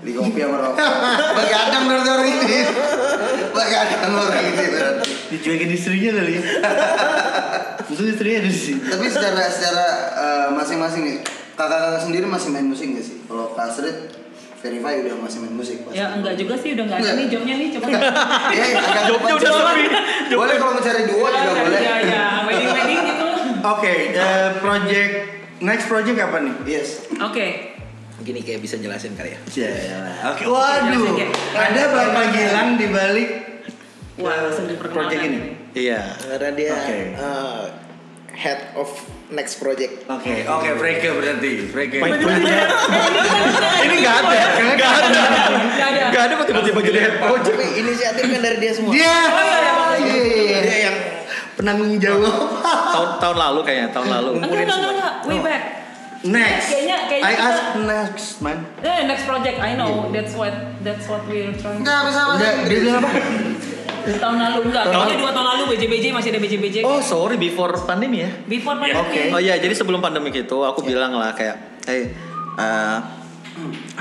Speaker 2: di kopi sama rokok. Begadang berarti orang ini. Begadang orang ini berarti.
Speaker 3: Dicuekin istrinya kali ya. Maksudnya istrinya ada di sini.
Speaker 2: Tapi secara secara eh, masing-masing nih, kakak-kakak sendiri masih main musik gak sih? Kalau Kasrit, Verify udah masih main musik pasti.
Speaker 4: Ya enggak juga sih udah enggak ada
Speaker 2: Enggak.
Speaker 4: nih jobnya nih coba.
Speaker 2: Iya, iya,
Speaker 5: Jobnya
Speaker 2: agak kepancing.
Speaker 5: udah lebih. Iya,
Speaker 2: Boleh kalau mencari duo juga boleh.
Speaker 4: Ya, ya, wedding-wedding gitu.
Speaker 3: Oke, eh, project next project apa nih?
Speaker 2: Yes.
Speaker 4: Oke.
Speaker 1: Gini kayak bisa jelasin kali ya.
Speaker 3: Jayalah. Iya, Oke, waduh.
Speaker 4: Oke,
Speaker 3: Ada Bapak Gilang di balik
Speaker 4: Wah, langsung
Speaker 3: eh,
Speaker 4: diperkenalkan.
Speaker 3: project ini.
Speaker 5: Iya.
Speaker 1: Karena dia
Speaker 3: Oke.
Speaker 1: eh, head of next project.
Speaker 3: Oke, oke, Freke berarti. Freke.
Speaker 5: Main Ini nggak ada. Nggak ada.
Speaker 4: Enggak ada.
Speaker 5: Nggak ada kok tiba-tiba jadi head project.
Speaker 1: Tapi inisiatif kan dari Oh, dia semua.
Speaker 3: Dia. Iya, iya,
Speaker 1: Dia
Speaker 3: iya.
Speaker 1: yang
Speaker 3: Penanggung jawab.
Speaker 5: Tahun tahun lalu kayaknya tahun lalu.
Speaker 4: Enggak, enggak, enggak, enggak. Way back.
Speaker 3: Next.
Speaker 4: Kayaknya kayaknya
Speaker 3: I
Speaker 4: kita-
Speaker 3: ask next, man.
Speaker 4: Eh, next project I know. That's what that's what we're trying.
Speaker 2: Enggak bisa bahasa
Speaker 3: Enggak, dia
Speaker 2: Inggris.
Speaker 3: bilang apa?
Speaker 4: Tahun lalu enggak.
Speaker 5: Tahun
Speaker 4: Kayaknya
Speaker 5: lalu.
Speaker 4: dua tahun lalu BJBJ masih ada BJBJ.
Speaker 5: Oh sorry before pandemi ya.
Speaker 4: Before pandemic.
Speaker 3: Oke. Iya.
Speaker 5: Oh iya, jadi sebelum pandemi itu aku bilang lah kayak, eh, eh,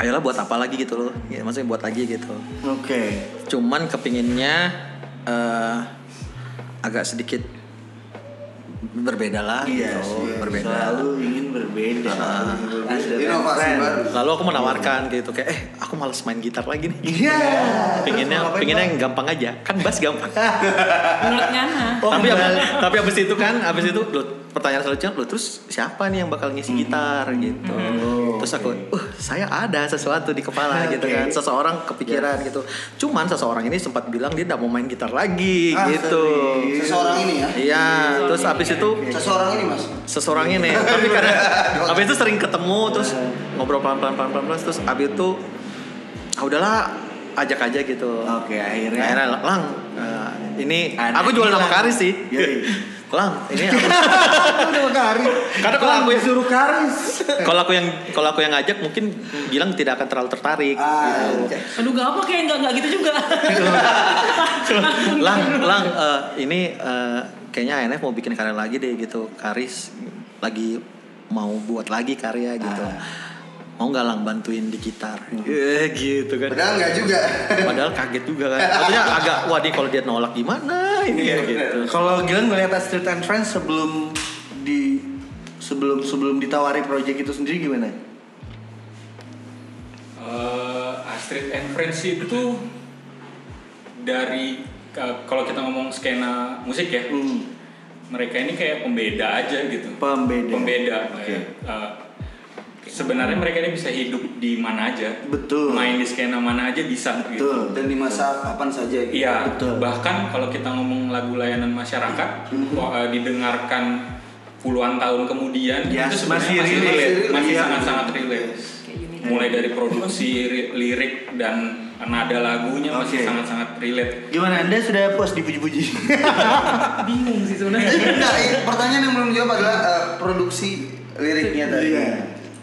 Speaker 5: ayolah buat apa lagi gitu loh, Ya, maksudnya buat lagi gitu.
Speaker 3: Oke.
Speaker 5: Cuman kepinginnya eh, agak sedikit berbeda lah gitu,
Speaker 3: Iya, sih.
Speaker 5: berbeda.
Speaker 3: Selalu ingin berbeda. Selalu ingin berbeda.
Speaker 2: Inovasi
Speaker 3: Keren.
Speaker 2: baru.
Speaker 5: Lalu aku menawarkan gitu kayak eh aku males main gitar lagi nih.
Speaker 3: Iya. Terus
Speaker 5: Pinginnya
Speaker 3: mau ngapain,
Speaker 5: pinginnya
Speaker 3: Bang?
Speaker 5: yang gampang aja. Kan bass gampang. Oh,
Speaker 4: Menurut Ngana.
Speaker 5: tapi abis, tapi abis itu kan abis itu lo pertanyaan selanjutnya lo terus siapa nih yang bakal ngisi gitar
Speaker 3: Hmm.
Speaker 5: gitu terus aku uh saya ada sesuatu di kepala gitu
Speaker 3: Oh, Oke.
Speaker 5: kan seseorang kepikiran gitu cuman seseorang ini sempat bilang dia tidak mau main gitar lagi
Speaker 3: Ah,
Speaker 5: gitu
Speaker 3: serius.
Speaker 2: Seseorang ini ya.
Speaker 5: iya
Speaker 4: Seseorang
Speaker 5: terus
Speaker 4: ini,
Speaker 5: abis itu
Speaker 2: Seseorang ini mas.
Speaker 5: seseorang ini tapi karena abis itu sering ketemu terus ngobrol pelan pelan pelan pelan, pelan terus abis itu ah, udahlah ajak aja gitu
Speaker 3: Oke, akhirnya.
Speaker 5: akhirnya lang eh, ini
Speaker 3: Ada
Speaker 5: aku jual
Speaker 3: ini,
Speaker 5: nama
Speaker 3: Lang. Iya,
Speaker 5: Karis sih
Speaker 3: Yoi.
Speaker 5: lang ini aku
Speaker 3: Aduh, Karis.
Speaker 5: Karena kalau aku-
Speaker 3: disuruh Karis.
Speaker 5: kalau aku yang kalau aku yang ngajak mungkin bilang tidak akan terlalu tertarik
Speaker 2: Ah,
Speaker 5: gitu.
Speaker 4: Aduh gak apa kayak nggak nggak gitu juga.
Speaker 5: lang lang eh, ini eh, kayaknya ANF mau bikin karya lagi deh gitu Karis lagi mau buat lagi karya gitu
Speaker 1: Ah.
Speaker 5: mau nggak lang bantuin di gitar
Speaker 1: Hmm.
Speaker 5: Eh, gitu kan
Speaker 2: Padahal nggak juga.
Speaker 5: padahal kaget juga kan maksudnya agak wah nih kalau dia nolak gimana ini
Speaker 2: Iya,
Speaker 5: gitu
Speaker 3: Kalau Gilang melihat Astrid and Friends sebelum di sebelum sebelum ditawari project itu sendiri gimana?
Speaker 6: Eh, Astrid and Friends itu dari ka- kalau kita ngomong skena musik ya,
Speaker 3: Hmm.
Speaker 6: mereka ini kayak pembeda aja gitu.
Speaker 3: Pembeda.
Speaker 6: Pembeda.
Speaker 3: Oke.
Speaker 6: kayak, eh, sebenarnya mereka ini bisa hidup di mana aja.
Speaker 3: Betul.
Speaker 6: Main di skena mana aja bisa gitu.
Speaker 3: Betul.
Speaker 2: Dan di masa kapan saja gitu.
Speaker 6: Iya,
Speaker 3: Betul. Mm-hmm.
Speaker 6: bahkan kalau kita ngomong lagu layanan masyarakat wah, eh, didengarkan puluhan tahun kemudian
Speaker 3: Yes,
Speaker 6: itu sebenarnya
Speaker 3: masih
Speaker 6: masih
Speaker 3: relate.
Speaker 6: relate, masih
Speaker 3: Iya.
Speaker 6: sangat-sangat relate. Mulai dari produksi, ri- lirik dan nada lagunya
Speaker 3: Oke.
Speaker 6: masih sangat-sangat relate.
Speaker 3: Gimana Anda sudah puas dipuji-puji?
Speaker 4: Bingung sih
Speaker 2: Jadi,
Speaker 4: sebenarnya.
Speaker 2: Enggak, i- pertanyaan yang belum dijawab adalah eh, produksi liriknya tadi.
Speaker 3: Iya.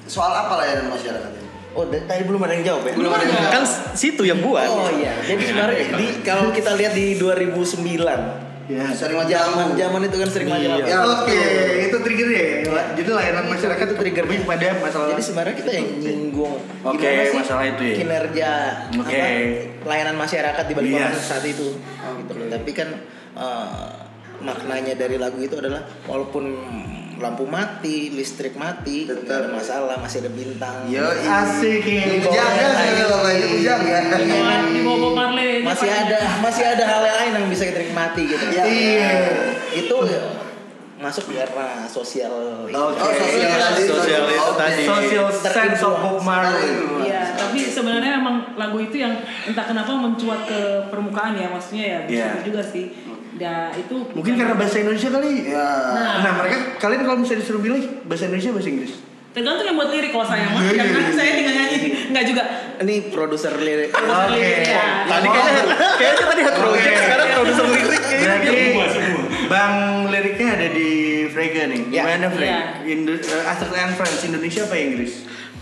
Speaker 2: Soal apa layanan masyarakat ini?
Speaker 1: Oh, da- tadi belum ada yang jawab ya?
Speaker 2: Belum ada yang
Speaker 5: kan
Speaker 2: jawab.
Speaker 5: situ yang buat
Speaker 1: Oh iya, jadi sebenarnya di kalau kita lihat di 2009
Speaker 3: ya.
Speaker 2: Sering
Speaker 1: zaman
Speaker 2: macam
Speaker 1: zaman itu kan sering
Speaker 5: Iya.
Speaker 1: majalah.
Speaker 2: Ya,
Speaker 3: Ya, Oke,
Speaker 2: betul.
Speaker 3: itu trigger ya. Jadi layanan masyarakat itu trigger
Speaker 1: triggernya.
Speaker 3: pada masalah.
Speaker 1: Jadi sebenarnya kita yang nyinggung
Speaker 3: Oke,
Speaker 1: gimana sih
Speaker 3: masalah itu ya.
Speaker 1: kinerja apa,
Speaker 3: Oke.
Speaker 1: layanan masyarakat di balik
Speaker 3: Yes.
Speaker 1: papan saat itu. Gitu loh. Tapi kan eh, maknanya dari lagu itu adalah walaupun lampu mati, listrik mati,
Speaker 2: Betul.
Speaker 1: nggak ada masalah, masih ada bintang.
Speaker 3: Iya.
Speaker 2: Yo, i-
Speaker 3: Asik Iya. ya.
Speaker 2: Dijaga sekali loh, Pak. Dijaga.
Speaker 4: Di bawah parle.
Speaker 1: Masih ada masih ada hal yang lain yang bisa kita nikmati gitu.
Speaker 2: Iya.
Speaker 3: Iya.
Speaker 1: Itu masuk karena sosial.
Speaker 3: Oke.
Speaker 2: Oh, sosial tadi.
Speaker 5: Sosial itu
Speaker 2: Oke.
Speaker 5: tadi.
Speaker 3: Social sense of Bob Marley.
Speaker 2: Terinfluence.
Speaker 4: Iya, tapi sebenarnya emang lagu itu yang entah kenapa mencuat ke permukaan ya, maksudnya ya bersyukur
Speaker 3: Iya.
Speaker 4: juga sih. Ya itu
Speaker 3: Mungkin karena bahasa Indonesia kali.
Speaker 2: Iya.
Speaker 3: Nah, mereka kalian kalau misalnya disuruh pilih bahasa Indonesia bahasa Inggris.
Speaker 4: tergantung yang buat lirik kalau saya mah, karena saya tinggal nyanyi, nggak juga.
Speaker 1: Ini produser lirik.
Speaker 4: Produser
Speaker 1: Oh, iya,
Speaker 3: Oke.
Speaker 4: lirik ya.
Speaker 5: tadi Ah, kayaknya kayaknya tadi head project
Speaker 3: Oke.
Speaker 5: sekarang produser lirik
Speaker 3: Berarti Bang liriknya ada di Frega nih.
Speaker 2: Iya.
Speaker 1: Ya.
Speaker 3: Gimana Frega?
Speaker 4: Ya.
Speaker 3: Indo- eh, Astrid and Friends Indonesia apa Inggris?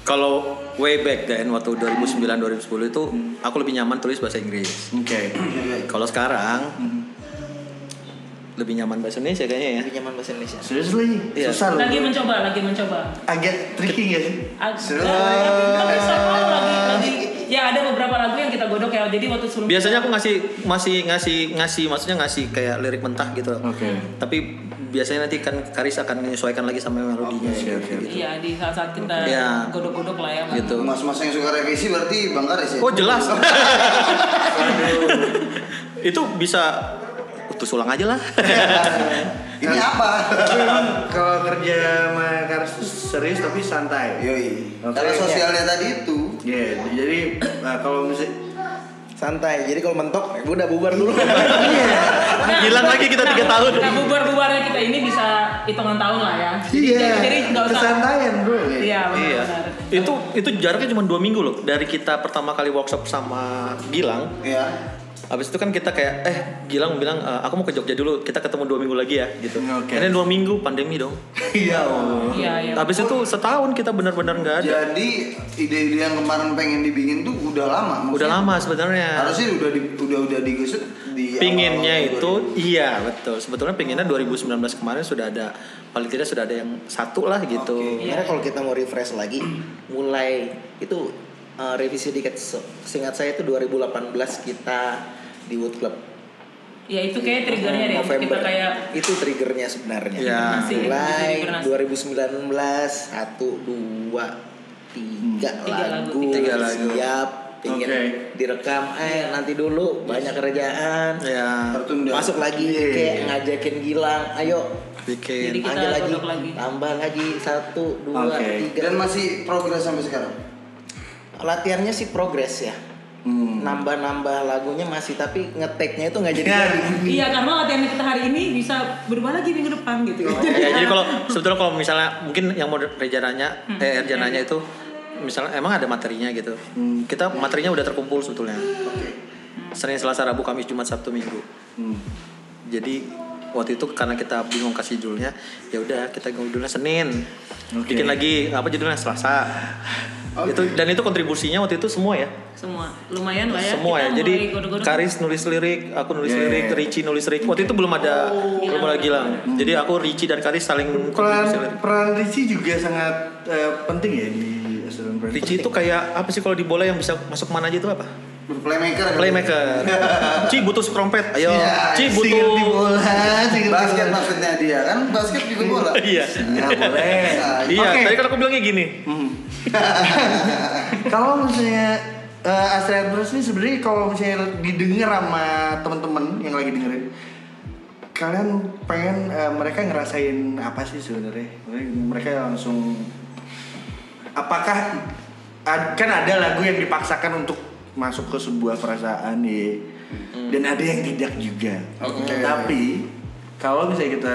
Speaker 5: Kalau way back then waktu 2009 2010 itu
Speaker 1: Hmm.
Speaker 5: aku lebih nyaman tulis bahasa Inggris.
Speaker 3: Oke.
Speaker 5: Kalau sekarang
Speaker 2: Hmm.
Speaker 5: lebih nyaman bahasa Indonesia kayaknya ya.
Speaker 1: Lebih nyaman bahasa Indonesia.
Speaker 3: Seriously?
Speaker 5: Iya.
Speaker 3: Susah loh.
Speaker 4: Lagi mencoba, lagi mencoba.
Speaker 3: Agak tricky ya sih?
Speaker 4: Ag-
Speaker 3: Seru.
Speaker 4: Tapi sama lagi, lagi. Ya ada beberapa lagu yang kita godok ya. Jadi waktu sebelum
Speaker 5: Biasanya aku ngasih masih ngasih ngasih maksudnya ngasih kayak lirik mentah gitu.
Speaker 3: Oke.
Speaker 5: Tapi biasanya nanti kan Karis akan menyesuaikan lagi sama melodinya
Speaker 2: Oke, oke,
Speaker 5: gitu.
Speaker 4: Iya di saat saat kita
Speaker 5: Iya.
Speaker 4: godok-godok lah ya. Bang.
Speaker 5: Gitu.
Speaker 2: Mas-mas yang suka revisi berarti Bang Karis ya?
Speaker 5: Oh jelas. itu bisa terus ulang aja lah.
Speaker 2: Ini apa?
Speaker 3: Kalau kerja sama Karis tuh serius tapi
Speaker 2: Iya.
Speaker 3: santai.
Speaker 2: Yoi.
Speaker 3: Oke.
Speaker 2: Karena sosialnya tadi itu.
Speaker 3: Iya, jadi eh, kalau misalnya
Speaker 1: Santai. Jadi kalau mentok, gue udah bubar dulu.
Speaker 3: Iya.
Speaker 4: Nah,
Speaker 5: Hilang lagi kita tiga
Speaker 4: nah,
Speaker 5: tahun.
Speaker 4: Nah bubar-bubarnya kita ini bisa hitungan tahun lah ya. Jadi- Jadi nggak usah.
Speaker 3: kesantaian bro.
Speaker 4: Iya
Speaker 5: Iya.
Speaker 4: benar.
Speaker 5: Itu itu jaraknya cuma dua minggu loh dari kita pertama kali workshop sama Gilang.
Speaker 2: Ya.
Speaker 5: Habis itu kan kita kayak eh Gilang bilang "Eh, aku mau ke Jogja dulu. Kita ketemu dua minggu lagi ya gitu.
Speaker 3: Oke.
Speaker 5: Ini dua minggu pandemi dong.
Speaker 3: Iya. Allah.
Speaker 4: Iya iya.
Speaker 5: Habis itu setahun kita benar-benar nggak ada.
Speaker 2: Jadi ide-ide yang kemarin pengen dibikin tuh udah lama. Maksudnya
Speaker 5: Udah lama sebenarnya.
Speaker 2: Iya. Harusnya iya, udah di, udah udah digesek di
Speaker 5: Pinginnya
Speaker 2: awal-awal
Speaker 5: itu iya betul. Sebetulnya pinginnya 2019 kemarin sudah ada paling tidak sudah ada yang satu lah
Speaker 4: Iya.
Speaker 5: gitu.
Speaker 1: Sebenarnya kalau kita mau refresh lagi, mulai itu uh, revisi dikit. Se- Seingat saya itu 2018 kita di Wood Club.
Speaker 4: ya itu kayak triggernya deh untuk kita kayak
Speaker 1: itu triggernya sebenarnya.
Speaker 3: Iya.
Speaker 5: Ya.
Speaker 4: Masih
Speaker 1: Mulai
Speaker 4: trigger nas-
Speaker 1: 2019 satu dua tiga,
Speaker 4: Tiga lagu,
Speaker 1: lagu,
Speaker 5: tiga lagu.
Speaker 1: siap pingin
Speaker 3: Oke.
Speaker 1: direkam eh nanti dulu banyak kerjaan
Speaker 5: ya
Speaker 2: Tertunda.
Speaker 1: masuk lagi
Speaker 3: Iya.
Speaker 1: kayak ngajakin Gilang ayo
Speaker 4: Jadi
Speaker 5: bikin
Speaker 4: kita
Speaker 1: panggil lagi,
Speaker 4: produk lagi.
Speaker 1: tambah lagi satu dua
Speaker 3: Oke.
Speaker 1: tiga
Speaker 2: Dan masih progres sampai sekarang.
Speaker 1: latihannya sih progres ya nambah-nambah lagunya masih tapi ngeteknya itu nggak jadi
Speaker 3: Ya.
Speaker 1: jadi
Speaker 4: iya karena latihan kita hari ini bisa berubah lagi minggu depan gitu
Speaker 5: Ya, jadi kalau sebetulnya kalau misalnya mungkin yang mau rejananya eh rejananya itu misalnya emang ada materinya gitu. Kita materinya udah terkumpul sebetulnya. Senin, Selasa, Rabu, Kamis, Jumat, Sabtu, Minggu.
Speaker 3: hmm,
Speaker 5: Jadi waktu itu karena kita bingung kasih judulnya, ya udah kita ganti judulnya Senin. Bikin lagi apa judulnya Selasa. Itu dan itu kontribusinya waktu itu semua ya.
Speaker 4: semua lumayan lah ya
Speaker 5: Semua
Speaker 4: kita
Speaker 5: ya. Jadi
Speaker 4: mulai godok-godok.
Speaker 5: Karis nulis lirik, aku nulis
Speaker 2: Iya,
Speaker 3: Yeah.
Speaker 5: lirik, Ricci nulis lirik. Waktu itu belum ada
Speaker 4: Oh.
Speaker 5: belum ada Gilang. Jadi aku Ricci dan Karis saling
Speaker 3: peran
Speaker 5: kontribusi lirik.
Speaker 3: peran Ricci juga sangat eh, penting ya di Asylum Friends.
Speaker 5: Ricci itu kayak apa sih kalau di bola yang bisa masuk mana aja itu apa?
Speaker 2: Playmaker.
Speaker 5: Playmaker. Ci butuh skrompet. Ayo.
Speaker 2: Iya,
Speaker 5: Ci
Speaker 3: Singgir di
Speaker 5: butuh
Speaker 3: bola, singgir di
Speaker 2: Basket
Speaker 3: bola.
Speaker 2: maksudnya dia kan basket juga bola.
Speaker 5: Iya.
Speaker 3: Ya boleh.
Speaker 2: Nah,
Speaker 5: Iya,
Speaker 3: Oke.
Speaker 5: tadi kan aku bilangnya gini.
Speaker 3: Hmm. kalau misalnya eh Astrid Brothers ini sebenarnya kalau misalnya didengar sama teman-teman yang lagi dengerin kalian pengen eh, mereka ngerasain apa sih sebenarnya mereka langsung apakah ad- kan ada lagu yang dipaksakan untuk masuk ke sebuah perasaan ya dan ada yang tidak juga
Speaker 2: Oke.
Speaker 3: tapi kalau misalnya kita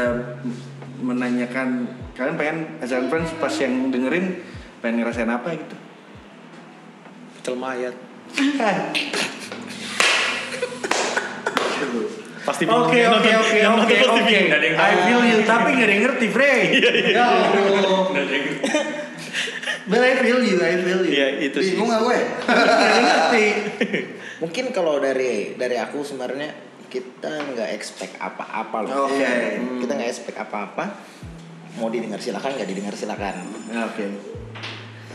Speaker 3: menanyakan kalian pengen as a friends pas yang dengerin pengen ngerasain apa gitu
Speaker 5: Pecel mayat.
Speaker 6: Kan?
Speaker 5: Pasti bingung.
Speaker 3: Oke
Speaker 5: Yang
Speaker 3: oke
Speaker 5: nonton-
Speaker 3: oke
Speaker 5: yang nonton
Speaker 3: oke
Speaker 5: pasti
Speaker 3: oke
Speaker 5: bingung.
Speaker 6: Nggak ada yang
Speaker 3: I
Speaker 6: tahu. Iya,
Speaker 3: feel you tapi nggak ada yang ngerti Frey ya Allah
Speaker 6: Nggak ada yang
Speaker 3: but I feel you I feel you
Speaker 5: Iya, itu sih.
Speaker 2: Bingung aku ya.
Speaker 3: nggak ada yang ngerti
Speaker 1: mungkin kalau dari dari aku sebenarnya kita nggak expect apa-apa loh
Speaker 3: Oke.
Speaker 1: Hmm. kita nggak expect apa-apa mau didengar silakan nggak didengar silakan
Speaker 3: Oke.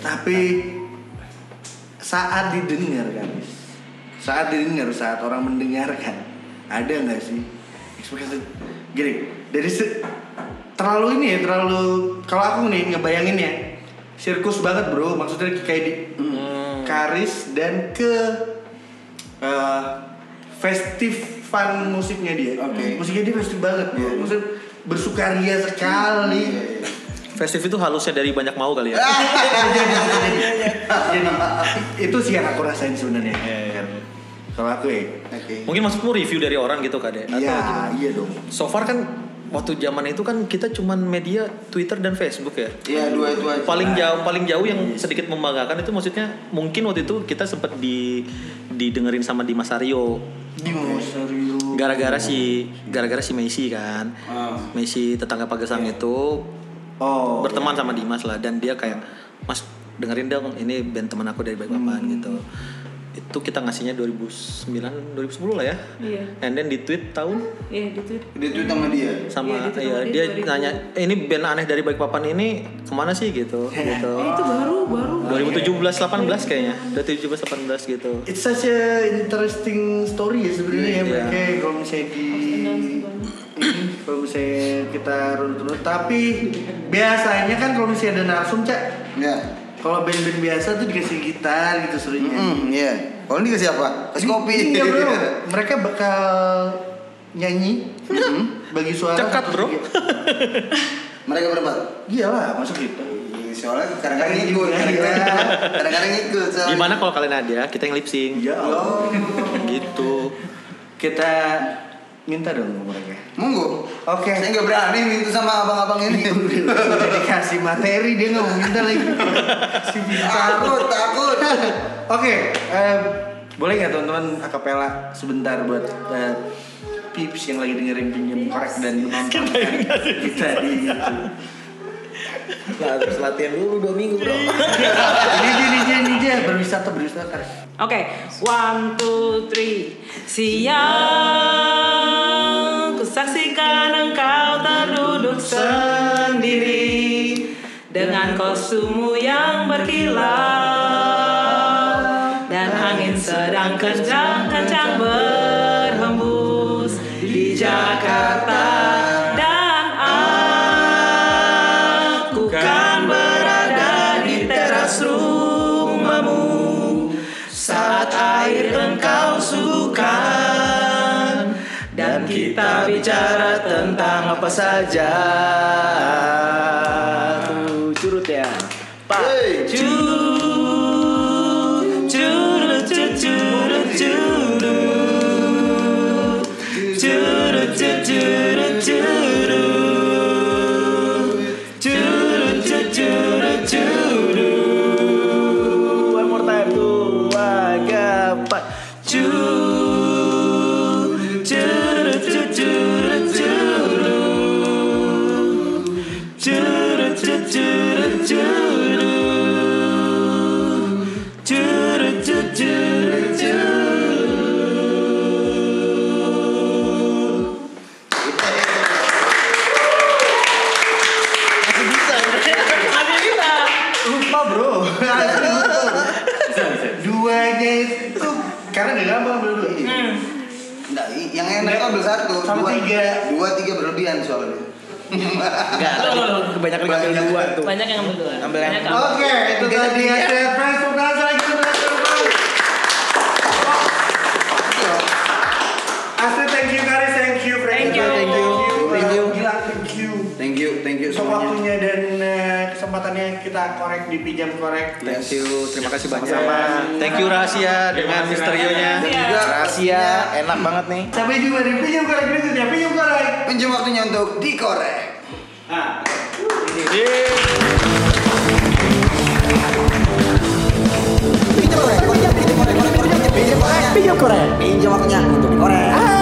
Speaker 3: Tapi saat didengar kan, saat didengar saat orang mendengarkan, ada nggak sih ekspektasi? Gini, dari se- terlalu ini ya terlalu kalau aku nih ngebayangin ya sirkus banget bro maksudnya kayak di Karis dan ke eh, festif fun musiknya dia
Speaker 2: Oke.
Speaker 3: musiknya dia festif banget bro maksudnya bersukaria
Speaker 5: Iya.
Speaker 3: sekali
Speaker 2: Iya,
Speaker 5: Festive itu halusnya dari banyak mau kali ya.
Speaker 3: Ah. Jadi itu sih yang aku rasain sebenarnya.
Speaker 5: Iya,
Speaker 3: Kalau aku ya.
Speaker 2: Oke.
Speaker 5: Mungkin maksudmu review dari orang gitu Kak, Dek? Atau
Speaker 3: Iya,
Speaker 5: gimana?
Speaker 3: iya dong.
Speaker 5: So far kan waktu zaman itu kan kita cuman media Twitter dan Facebook ya.
Speaker 2: Iya dua itu aja.
Speaker 3: Ah.
Speaker 5: paling jauh paling jauh yang
Speaker 3: Iya.
Speaker 5: sedikit membanggakan itu maksudnya mungkin waktu itu kita sempat di didengerin sama Dimas Aryo
Speaker 3: Dinosaurus.
Speaker 5: gara-gara si gara-gara si Messi kan
Speaker 3: Ah.
Speaker 5: Messi tetangga Pagesang
Speaker 3: Iya.
Speaker 5: itu
Speaker 3: Oh.
Speaker 5: berteman sama Dimas lah dan dia kayak Mas dengerin dong ini band teman aku dari Balikpapan gitu itu kita ngasihnya 2009 2010 lah ya
Speaker 4: iya
Speaker 5: and then di tweet tahun
Speaker 4: iya gitu
Speaker 2: Dia tweet sama dia.
Speaker 5: sama
Speaker 4: Iya, di tweet
Speaker 5: ya,
Speaker 4: sama
Speaker 5: dia
Speaker 4: dia 2000.
Speaker 5: nanya "Eh, ini band aneh dari Balikpapan ini kemana sih gitu gitu
Speaker 4: eh, itu baru baru
Speaker 5: 2017 18 kayaknya. Udah 17 18 gitu.
Speaker 3: It's such a interesting story ya sebenarnya ya
Speaker 5: Iya.
Speaker 3: mereka kalau misalnya di ini kalau misalnya kita runut-runut tapi biasanya kan kalau misalnya ada narsum cak
Speaker 2: Iya.
Speaker 3: kalau band-band biasa tuh dikasih gitar gitu seringnya.
Speaker 5: Hmm.
Speaker 2: Mm, iya. Kalau ini kasih apa? Kasih kopi.
Speaker 3: Iya bro, mereka bakal nyanyi hmm, bagi suara.
Speaker 5: Cekat, bro.
Speaker 3: satu tiga.
Speaker 2: Mereka berempat.
Speaker 3: Iya lah, masuk gitu.
Speaker 2: Iya, Soalnya kadang-kadang
Speaker 3: Iya.
Speaker 2: ngikut, kadang-kadang kadang-kadang ngikut. soalnya.
Speaker 5: Gimana kalau kalian ada, kita yang lip sync
Speaker 3: Iya.
Speaker 2: Oh,
Speaker 5: gitu.
Speaker 3: Kita minta dong ke mereka.
Speaker 2: monggo.
Speaker 3: Oke.
Speaker 2: Saya nggak berani minta sama abang-abang ini.
Speaker 3: Udah dikasih materi dia nggak mau minta lagi. si bicara.
Speaker 2: takut, takut.
Speaker 3: Oke, eh, boleh nggak teman-teman akapela sebentar buat eh, pips yang lagi dengerin pinjam korek dan nonton kita di YouTube.
Speaker 1: Nah, terus latihan dulu dua minggu bro
Speaker 3: Ini dia, ini dia, ini dia berwisata berwisata.
Speaker 4: Oke, one, two, three. Siang, kusaksikan engkau terduduk sendiri dengan kostummu yang berkilau dan angin sedang kencang-kencang berhembus di kan Kita bicara tentang
Speaker 1: apa saja. Curut ya. Pak. One more time tuh. Wagapat. Masih bisa.
Speaker 4: Masih bisa.
Speaker 3: Lupa bro.
Speaker 6: bisa bisa
Speaker 3: Duanya itu karena nggak gampang ambil dua.
Speaker 4: Hmm.
Speaker 2: Nggak, i- yang enak itu ambil satu,
Speaker 3: Sama
Speaker 2: dua,
Speaker 3: tiga.
Speaker 2: dua tiga berlebihan soalnya.
Speaker 1: Enggak, tadi
Speaker 5: Kan
Speaker 1: kebanyakan ngambil
Speaker 2: Banyak.
Speaker 1: dua tuh.
Speaker 4: Nah, Banyak yang ambil dua.
Speaker 1: Ambil yang-
Speaker 4: Banyak yang ambil.
Speaker 3: Oke, itu
Speaker 1: Tiga,
Speaker 3: tadi
Speaker 1: tiga.
Speaker 3: ada Friends for Friends lagi teman-teman. Asli thank you Karis, thank you Frank.
Speaker 4: Thank you. Thank you.
Speaker 1: Thank you.
Speaker 3: Gila, thank you.
Speaker 2: Thank you, thank you
Speaker 3: Untuk
Speaker 2: semuanya.
Speaker 3: waktunya dan eh, kesempatannya kita korek di pinjam korek.
Speaker 2: Yes.
Speaker 1: Thank you, terima kasih banyak.
Speaker 3: Sama-sama.
Speaker 5: Thank you rahasia dengan
Speaker 6: kasih,
Speaker 5: misterionya.
Speaker 2: Dan
Speaker 4: Iya.
Speaker 2: juga
Speaker 1: Rahasia, enak banget nih.
Speaker 3: Sampai jumpa di pinjam korek berikutnya. Pinjam korek.
Speaker 2: Pinjam waktunya untuk dikorek.
Speaker 3: Nah.
Speaker 2: Pinjam waktunya untuk dikorek.